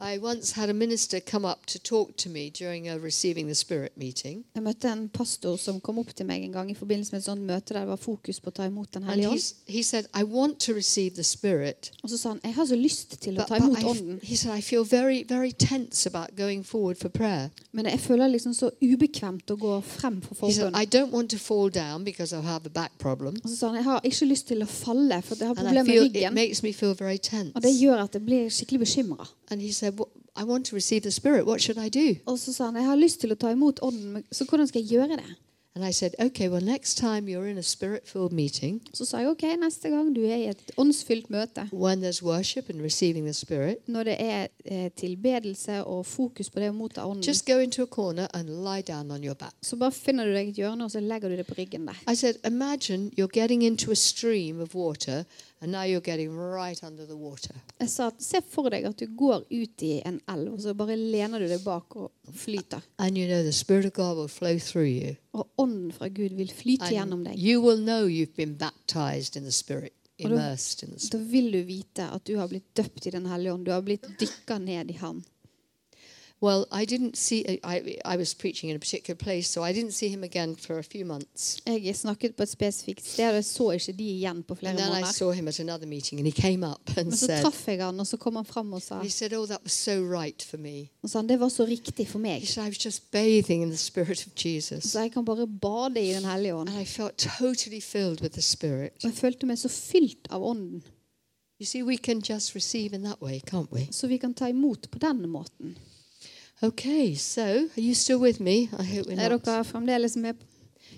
S2: I once had a minister come up to talk to me during a receiving the Spirit meeting,
S3: Jeg møtte en pastor som kom opp til meg en gang i forbindelse med et sånt møte der det var fokus på å ta imot Den
S2: and
S3: hellige ånd.
S2: he's, he said, "I want to receive the Spirit."
S3: Og så sa han jeg har så lyst til å
S2: But,
S3: ta
S2: but
S3: imot
S2: I f-
S3: ånden,
S2: he said, "I feel very, very tense about going forward for prayer."
S3: men jeg føler liksom så ubekvemt å gå frem for
S2: He said,
S3: forbønn.
S2: "I don't want to fall down because I'll have a back problem."
S3: Og så sa han jeg har ikke lyst til å falle, for jeg har
S2: And I
S3: problemer med
S2: feel it
S3: ryggen.
S2: makes me feel very tense.
S3: Og det gjør at jeg blir skikkelig bekymra.
S2: And he said, "Wh- "I want to receive the Spirit. What should I do?"
S3: Og så sa han jeg har lyst til å ta imot ånden, men så hvordan skal jeg gjøre det?
S2: And And I said, okay, well, next time you're in a spirit filled meeting,
S3: Så sa jeg OK, neste gang du er i et åndsfylt møte,
S2: when there's worship and receiving the Spirit,
S3: når det er eh, tilbedelse og fokus på det å motta ånden,
S2: just go into a corner and lie down on your back.
S3: så bare finner du deg et hjørne, og så legger du det på ryggen der.
S2: I said, imagine you're getting into a stream of water and now you're getting right under the water.
S3: Jeg sa at se for deg at du går ut i en elv, og så bare lener du deg bak og flyter.
S2: And you know the Spirit of God will flow through you.
S3: Og ånden fra Gud vil flyte gjennom
S2: And
S3: deg.
S2: you will know you've been baptized in the Spirit,
S3: Although-
S2: immersed in the Spirit.
S3: Da vil du vite at du har blitt døpt i Den hellige ånd. Du har blitt dykka ned i Han.
S2: Well, I didn't see, I, I was preaching in a particular place, so I didn't see him again for a few months.
S3: Jeg snakket på et spesifikt sted, og jeg så ikke de igjen på flere
S2: And then I
S3: måneder.
S2: saw him at another meeting and he came up and
S3: Men så
S2: said,
S3: traff jeg han, og så kom han fram og sa,
S2: he said, oh, that was so right for me.
S3: og sa han, det var så riktig for
S2: He
S3: meg.
S2: said, I was just bathing in the Spirit of Jesus.
S3: Så jeg kan bare bade i Den hellige ånd.
S2: And I felt totally filled with the Spirit.
S3: Og jeg følte meg så fylt av ånden,
S2: You see, we can just receive in that way, can't we?
S3: så vi kan ta imot på den måten.
S2: Okay, so are you still with me? I hope we're
S3: Er
S2: not.
S3: dere fremdeles med?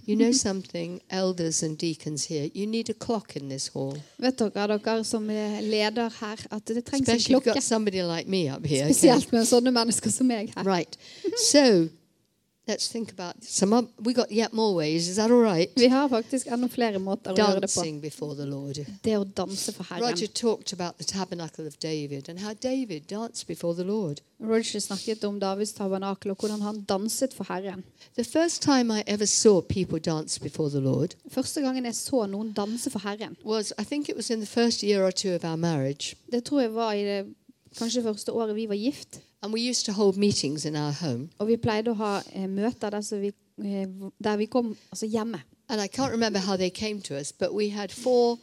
S2: You know something, elders and deacons here, you need a clock in this hall.
S3: Vet dere, dere som er leder her, at det trengs en
S2: Especially if you've
S3: klokke.
S2: got somebody like me up here. okay?
S3: Spesielt med sånne mennesker som meg her.
S2: Right. So let's think about some. Up, we got yet more ways. Is that all right?
S3: Vi har faktisk enda flere måter å gjøre det på.
S2: Dancing before the Lord.
S3: Det å danse for Herren.
S2: Roger talked about the tabernacle of David and how David danced before the Lord.
S3: Roger snakket om Davids tabernakel og hvordan han danset for Herren.
S2: The first time I ever saw people dance before the Lord
S3: Første gangen jeg så noen danse for Herren,
S2: was, I think it was in the first year or two of our marriage.
S3: det tror jeg var i det kanskje første året vi var gift.
S2: And we used to hold meetings in our home.
S3: Og vi pleide å ha eh, møter der, så vi, eh, der vi kom altså hjemme.
S2: And I can't remember how they came to us, but we had four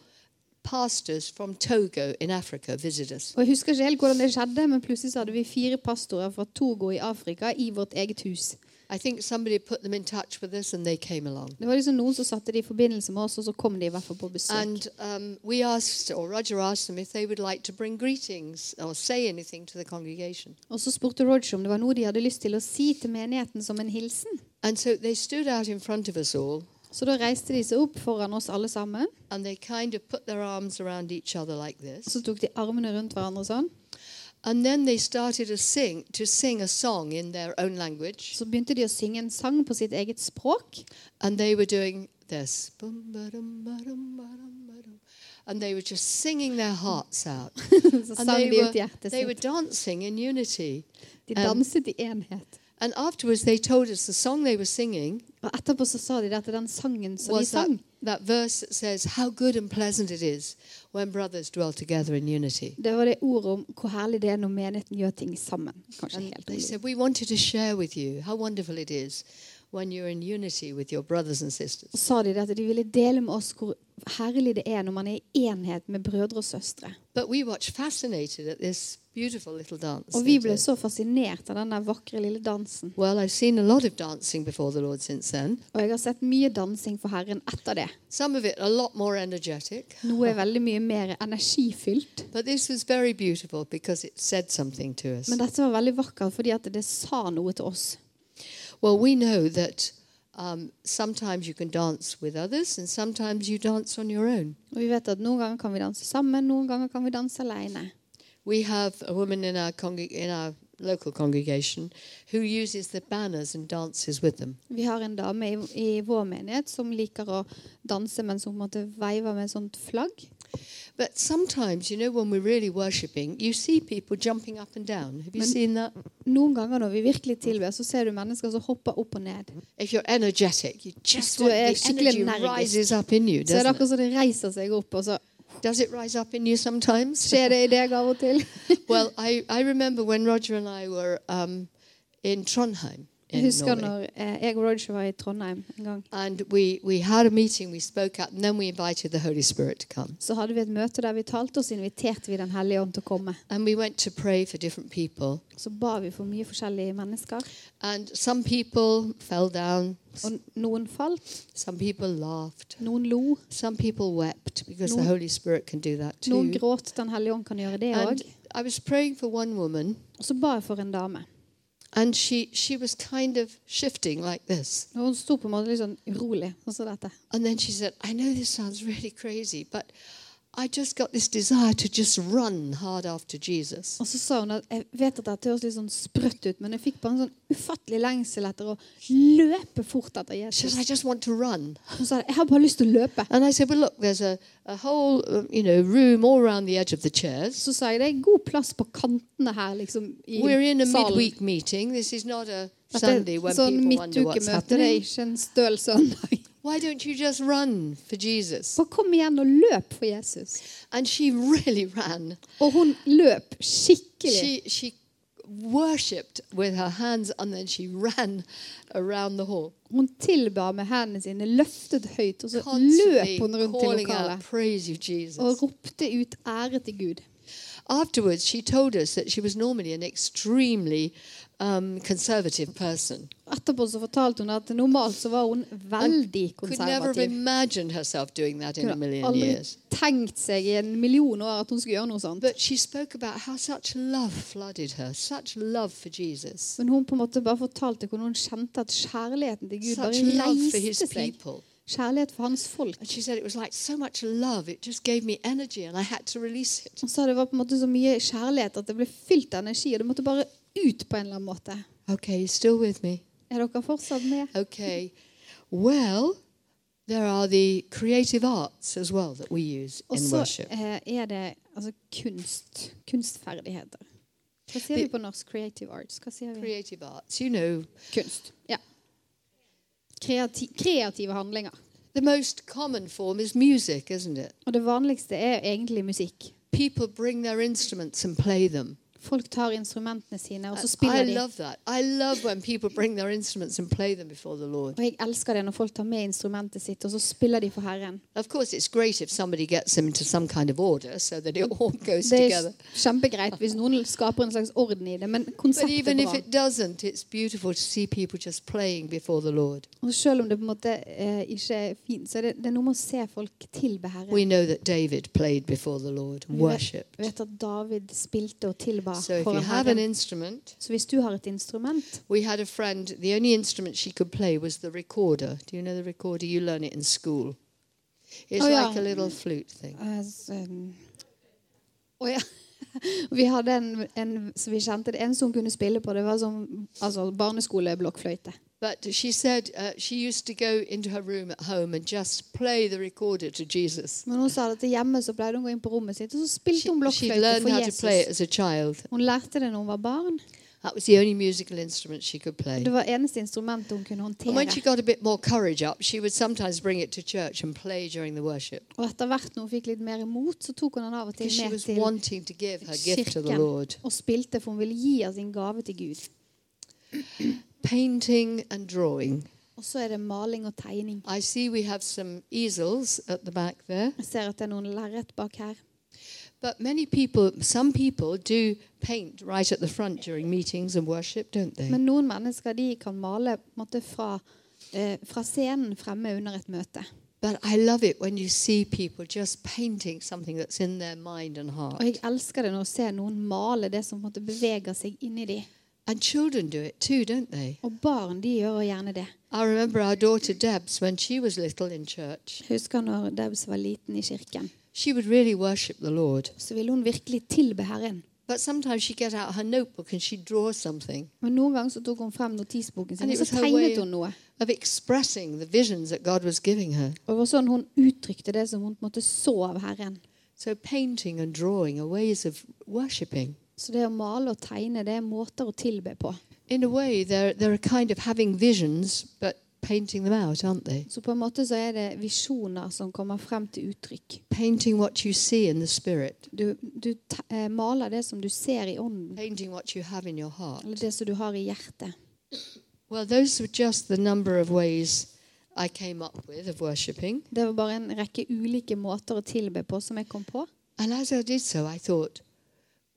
S2: pastors from Togo in Africa visit us.
S3: Og Jeg husker ikke helt hvordan det skjedde, men plutselig så hadde vi fire pastorer fra Togo i Afrika i vårt eget hus.
S2: I think somebody put them in touch with us and they came along.
S3: Det var liksom noen som satte det i forbindelse med oss, og så kom de i hvert fall på besøk.
S2: And um, we asked, or Roger asked them if they would like to bring greetings or say anything to the congregation.
S3: Og så spurte Roger om det var noe de hadde lyst til å si til menigheten som en hilsen.
S2: And so they stood out in front of us all
S3: Så da reiste de seg opp foran oss alle sammen.
S2: and they kind of put their arms around each other like
S3: Og
S2: this.
S3: så tok de armene rundt hverandre sånn.
S2: And then they started to sing, to sing a song in their own language.
S3: Så begynte de å synge en sang på sitt eget språk.
S2: And they were doing this. Bum, ba-dum, ba-dum, ba-dum, ba-dum. And they were just singing their hearts out.
S3: Så
S2: And
S3: sang
S2: they
S3: de ut
S2: were,
S3: hjertet
S2: they um, were
S3: sitt.
S2: dancing in unity.
S3: De danset i enhet.
S2: And afterwards, they told us the song they were singing
S3: Og etterpå så sa de det til den sangen som de
S2: was that,
S3: sang.
S2: that verse that says, How good and pleasant it is when brothers dwell together in unity.
S3: Det var det ordet om hvor herlig det er når menigheten gjør ting sammen. Kanskje
S2: And
S3: helt
S2: they
S3: rolig.
S2: said, We wanted to share with you how wonderful it is when you're in unity with your brothers and sisters.
S3: Så sa de det at de ville dele med oss hvor herlig det er når man er i enhet med brødre og søstre.
S2: But we watched fascinated at this beautiful little dance. they
S3: Og vi ble
S2: did.
S3: så fascinert av den der vakre lille dansen.
S2: Well, I've seen a lot of dancing before the Lord since then.
S3: Og jeg har sett mye dansing for Herren etter det.
S2: Some of it a lot more energetic.
S3: Noe er veldig mye mer energifylt.
S2: But this was very beautiful because it said something to us.
S3: Men dette var veldig vakkert fordi at det sa noe til oss.
S2: Well, we know that um, sometimes you can dance with others and sometimes you dance on your own.
S3: Og vi vet at noen ganger kan vi danse sammen, noen ganger kan vi danse alene.
S2: We have a woman in our, congreg- in our local congregation who uses the banners and dances with them.
S3: Vi har en dame i, i vår menighet som liker å danse, men som på en måte veiver med et sånt flagg.
S2: But sometimes, you know, when we're really worshipping, you see people jumping up and down. Have you
S3: Men-
S2: seen that?
S3: Noen ganger når vi virkelig tilber, så ser du mennesker som hopper opp og ned.
S2: If you're energetic, you just
S3: du
S2: want
S3: er
S2: the
S3: skikkelig
S2: energy
S3: energisk,
S2: rises up in you,
S3: Så er sånn- det
S2: doesn't it?
S3: akkurat som det reiser seg opp, og så
S2: Does it rise up in you sometimes?
S3: skjer det i deg av og til.
S2: well, I, I remember when Roger and I were um, in Trondheim
S3: Jeg
S2: in
S3: husker
S2: Norway.
S3: når eh, jeg og Roger var i Trondheim en gang.
S2: And we, we had a meeting, we spoke up, and then we invited the Holy Spirit to come.
S3: Så hadde vi et møte der vi talte, og så inviterte vi Den hellige ånd til å komme.
S2: And we went to pray for different people.
S3: Så ba vi for mye forskjellige mennesker.
S2: And some people fell down,
S3: Og noen falt,
S2: some people laughed,
S3: noen lo,
S2: some people wept, because the
S3: Noen-
S2: Holy Spirit can do that
S3: noen
S2: too.
S3: gråt. Den hellige ånd kan gjøre det òg.
S2: And I was praying for one woman,
S3: Og så ba jeg for en dame.
S2: And she, she was kind of shifting like this.
S3: Og hun sto på en måte litt sånn urolig, sånn som dette.
S2: And then she said, I know this sounds really crazy, but I just got this desire to just run hard after Jesus.
S3: Og så sa hun at jeg vet at dette høres litt sånn sprøtt ut, men jeg fikk bare en sånn ufattelig lengsel etter å løpe fort etter
S2: She
S3: Jesus.
S2: said, I just want to run.
S3: Hun sa jeg har bare lyst til å løpe.
S2: And I said, Well, look, there's a, a whole um, you know, room all around the edge of the chairs.
S3: Så sa jeg det er god plass på kantene her, liksom i
S2: We're in a
S3: salen.
S2: midweek meeting. This is not a Sunday
S3: Dette
S2: when
S3: er sånn
S2: people wonder what's
S3: midtukemøte, det er
S2: happening.
S3: ikke en støl søndag.
S2: Why don't you just run for Jesus?
S3: Så kom igjen og løp for Jesus.
S2: And she really ran.
S3: Og hun løp skikkelig.
S2: She, she worshipped with her hands and then she ran around the hall.
S3: Hun tilba med hendene sine, løftet høyt, og så løp
S2: Constantly
S3: hun rundt i
S2: calling out,
S3: lokalet.
S2: Praise you, Jesus.
S3: Og ropte ut ære til Gud.
S2: Afterwards, she told us that she was normally an extremely um, conservative person.
S3: Etterpå så fortalte hun at normalt så var hun veldig
S2: Could never have
S3: konservativ.
S2: imagined herself doing that in a
S3: Hun hadde
S2: million
S3: aldri
S2: years.
S3: tenkt seg i en million år at hun skulle gjøre noe sånt.
S2: But she spoke about how such love flooded her, such love for Jesus,
S3: Men hun på en måte bare fortalte hvordan hun kjente at kjærligheten til Gud
S2: such
S3: bare
S2: love for his
S3: reiste seg.
S2: people.
S3: Kjærlighet for hans folk.
S2: And she said it was like so much love, it just gave me energy and I had to release it.
S3: Hun sa det var på en måte så mye kjærlighet at det ble fylt av energi, og det måtte bare ut på en eller annen måte.
S2: Okay, you still with me?
S3: Er dere fortsatt med?
S2: Okay. Well, there are the creative arts as well that we use
S3: Og
S2: in
S3: så
S2: worship.
S3: eh, er det altså kunst. Kunstferdigheter. Hva sier
S2: Vi-
S3: vi på norsk? Creative arts. Hva sier vi?
S2: Creative arts, you know,
S3: Kunst. Ja. Kreati kreative handlinger.
S2: the most common form is music, isn't it?
S3: Og det vanligste er egentlig musikk.
S2: People bring their instruments and play them.
S3: Folk tar instrumentene sine, og så
S2: I
S3: spiller de.
S2: love that. I love when people bring their instruments and play them before the Lord.
S3: Og jeg elsker det når folk tar med instrumentet sitt, og så spiller de for Herren.
S2: Of course, it's great if somebody gets them into some kind of order so that it all goes
S3: Det er
S2: together.
S3: kjempegreit hvis noen skaper en slags orden i det, men
S2: But
S3: konseptet
S2: even
S3: er
S2: if
S3: bra.
S2: it doesn't, it's beautiful to see people just playing before the Lord.
S3: Og selv om det på en måte eh, ikke er fint, så er det, det er noe med å se folk tilbe Herren.
S2: We know that David played before the Lord,
S3: Vi
S2: worshipped.
S3: vet, vet at David spilte og tilba
S2: So if you
S3: foran
S2: have an
S3: Herren.
S2: instrument,
S3: Så hvis du har et instrument
S2: we had a friend, the only instrument she could play was the recorder. Do you know the recorder? You learn it in school. It's
S3: Oh, yeah.
S2: like a little flute thing.
S3: eh, s- em, Å ja. Vi hadde en, en så vi kjente det eneste hun kunne spille på, det var som altså, barneskoleblokkfløyte.
S2: But she said uh, she used to go into her room at home and just play the recorder to Jesus.
S3: Men hun sa at hjemme så pleide hun å gå inn på rommet sitt, og så spilte
S2: She,
S3: hun
S2: she
S3: blokkfløyte
S2: learned how
S3: for
S2: to play it as
S3: Jesus.
S2: a child.
S3: Hun lærte det når hun var barn.
S2: That was the only musical instrument she could play.
S3: Det var eneste instrumentet hun kunne
S2: And when she
S3: håndtere.
S2: got a bit more courage up, she would sometimes bring it to church and play during the worship.
S3: Og etter hvert når hun fikk litt mer imot, så tok hun den av og til
S2: Because she
S3: med
S2: was
S3: til
S2: wanting to give her gift to the
S3: kirken.
S2: Lord.
S3: og spilte, for hun ville gi av sin gave til Gud.
S2: Painting and drawing.
S3: Og så er det maling og tegning.
S2: I see we have some easels at the back there.
S3: Jeg ser at det er noen lerret bak her.
S2: But many people, some people do paint right at the front during meetings and worship, don't they?
S3: Men noen mennesker de kan male på en måte, fra, eh, fra scenen fremme under et møte.
S2: But I love it when you see people just painting something that's in their mind and heart.
S3: Og jeg elsker det når jeg ser noen male det som på en måte, beveger seg inni de.
S2: And children do it too, don't they?
S3: Og barn de gjør jo gjerne det.
S2: I remember our daughter Debs when she was little in church.
S3: Jeg husker når Debs var liten i kirken,
S2: She would really worship the Lord.
S3: så ville hun virkelig tilbe Herren.
S2: But sometimes she'd get out her notebook and she'd draw something
S3: Men noen ganger så tok hun frem notisboken sin,
S2: And it
S3: og så
S2: was her way-
S3: tegnet hun noe.
S2: of expressing the visions that God was giving her.
S3: Og det var sånn hun uttrykte det som hun på en måte så av Herren.
S2: So painting and drawing are ways of worshipping.
S3: Så det å male og tegne, det er måter å tilbe på.
S2: In a way, they're, they're a kind of having visions, but painting them out, aren't they?
S3: Så på en måte så er det visjoner som kommer frem til uttrykk.
S2: Painting what you see in the spirit,
S3: Du, du te- eh, maler det som du ser i ånden,
S2: painting what you have in your heart.
S3: eller det som du har i hjertet.
S2: Well, those were just the number of ways I came up with of worshipping.
S3: Det var bare en rekke ulike måter å tilbe på som jeg kom på.
S2: And as I did so, I thought,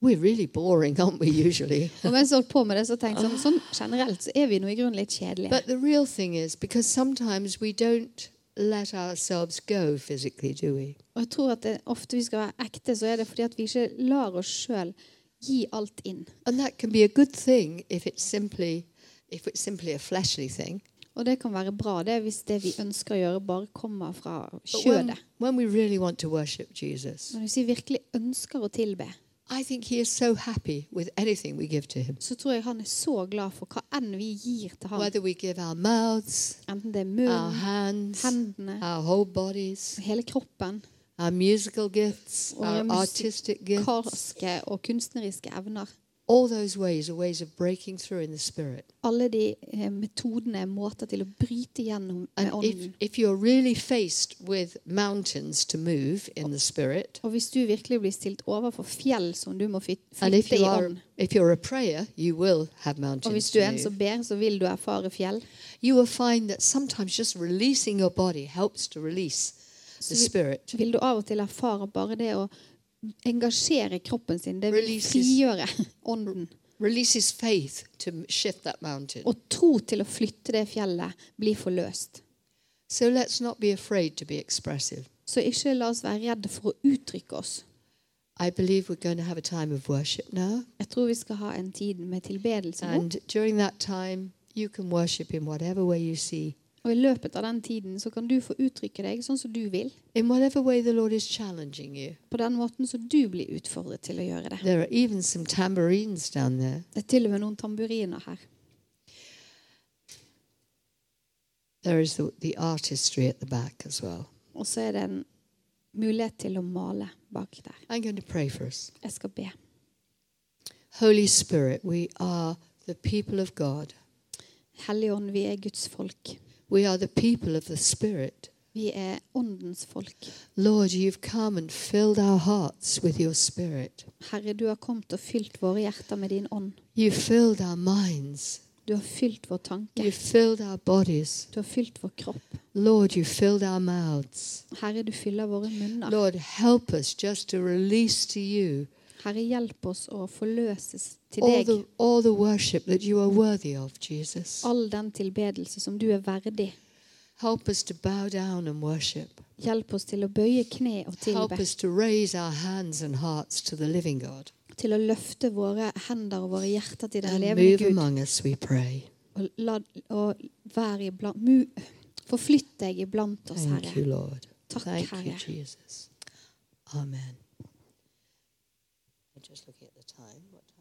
S2: we're really boring, aren't we, usually?
S3: Og mens jeg holdt på med det, så tenkte jeg sånn, sånn generelt så er vi nå i grunnen litt kjedelige.
S2: But the real thing is, because sometimes we don't let ourselves go physically, do we?
S3: Og jeg tror at det, ofte vi skal være ekte, så er det fordi at vi ikke lar oss sjøl Gi alt inn.
S2: And that can be a good thing if it's simply if it's simply a fleshly thing.
S3: Og det kan være bra det hvis det vi ønsker å gjøre, bare kommer fra
S2: But when,
S3: kjødet.
S2: when we really want to worship Jesus,
S3: Men hvis vi virkelig ønsker å tilbe,
S2: I think he is so happy with anything we give to him.
S3: så tror jeg han er så glad for hva enn vi gir til ham.
S2: Whether we give our mouths,
S3: Enten det er
S2: our
S3: munnen,
S2: hands,
S3: hendene,
S2: our whole bodies,
S3: hele kroppen,
S2: our musical gifts,
S3: Or
S2: our
S3: musik-
S2: artistic gifts,
S3: karske og kunstneriske evner.
S2: all those ways are ways of breaking through in the spirit.
S3: Alle de eh, metodene er måter til å bryte gjennom
S2: And
S3: med
S2: if,
S3: ånden.
S2: if you're really faced with mountains to move in the spirit,
S3: Og hvis du virkelig blir stilt overfor fjell som du må fly-
S2: and if
S3: flytte
S2: you
S3: i
S2: are
S3: ånd,
S2: if you're a prayer, you will have
S3: og
S2: mountains
S3: hvis du er en
S2: to
S3: som
S2: move.
S3: ber, så vil du erfare fjell.
S2: You will find that sometimes just releasing your body helps to release the
S3: Så
S2: spirit.
S3: vil- vil du av og til erfare bare det å engasjere kroppen sin. Det vil
S2: Releases.
S3: frigjøre ånden.
S2: Releases faith to m- shift that mountain.
S3: Og tro til å flytte det fjellet blir forløst.
S2: So let's not be afraid to be expressive.
S3: Så ikke la oss være redde for å uttrykke oss.
S2: I believe we're going to have a time of worship now.
S3: Jeg tror vi skal ha en tid med tilbedelse nå.
S2: And during that time, you can worship in whatever way you see,
S3: Og i løpet av den tiden så kan du få uttrykke deg sånn som du vil.
S2: in whatever way the Lord is challenging you.
S3: På den måten som du blir utfordret til å gjøre det.
S2: There are even some tambourines down there.
S3: Det er til og med noen tamburiner her.
S2: There is the, the artistry at the back as well.
S3: Og så er det en mulighet til å male bak der.
S2: I'm going to pray for us.
S3: Jeg skal be.
S2: Holy Spirit, we are the people of God.
S3: Hellige Ånd, vi er Guds folk.
S2: We are the people of the Spirit.
S3: Vi er åndens folk.
S2: Lord, you've come and filled our hearts with your Spirit.
S3: Herre, du har kommet og fylt våre hjerter med din ånd.
S2: You've filled our minds.
S3: Du har fylt vår tanke.
S2: You've filled our bodies.
S3: Du har fylt vår kropp.
S2: Lord, you filled our mouths.
S3: Herre, du fyller våre munner.
S2: Lord, help us just to release to you
S3: Herre, hjelp oss å forløses til
S2: all
S3: deg.
S2: the, all the worship that you are worthy of, Jesus.
S3: All den tilbedelse som du er verdig.
S2: Help us to bow down and worship.
S3: Hjelp oss til å bøye kne og
S2: Help
S3: tilbe.
S2: us to raise our hands and hearts to the living God.
S3: Til å løfte våre hender og våre hjerter til den
S2: And
S3: levende
S2: move
S3: Gud.
S2: among us, we pray.
S3: Og, la, og vær iblant, mu, forflytt deg iblant oss,
S2: Thank you,
S3: Herre.
S2: Lord.
S3: Takk,
S2: Thank you,
S3: Herre.
S2: Jesus. Amen. I'm just looking at the time. What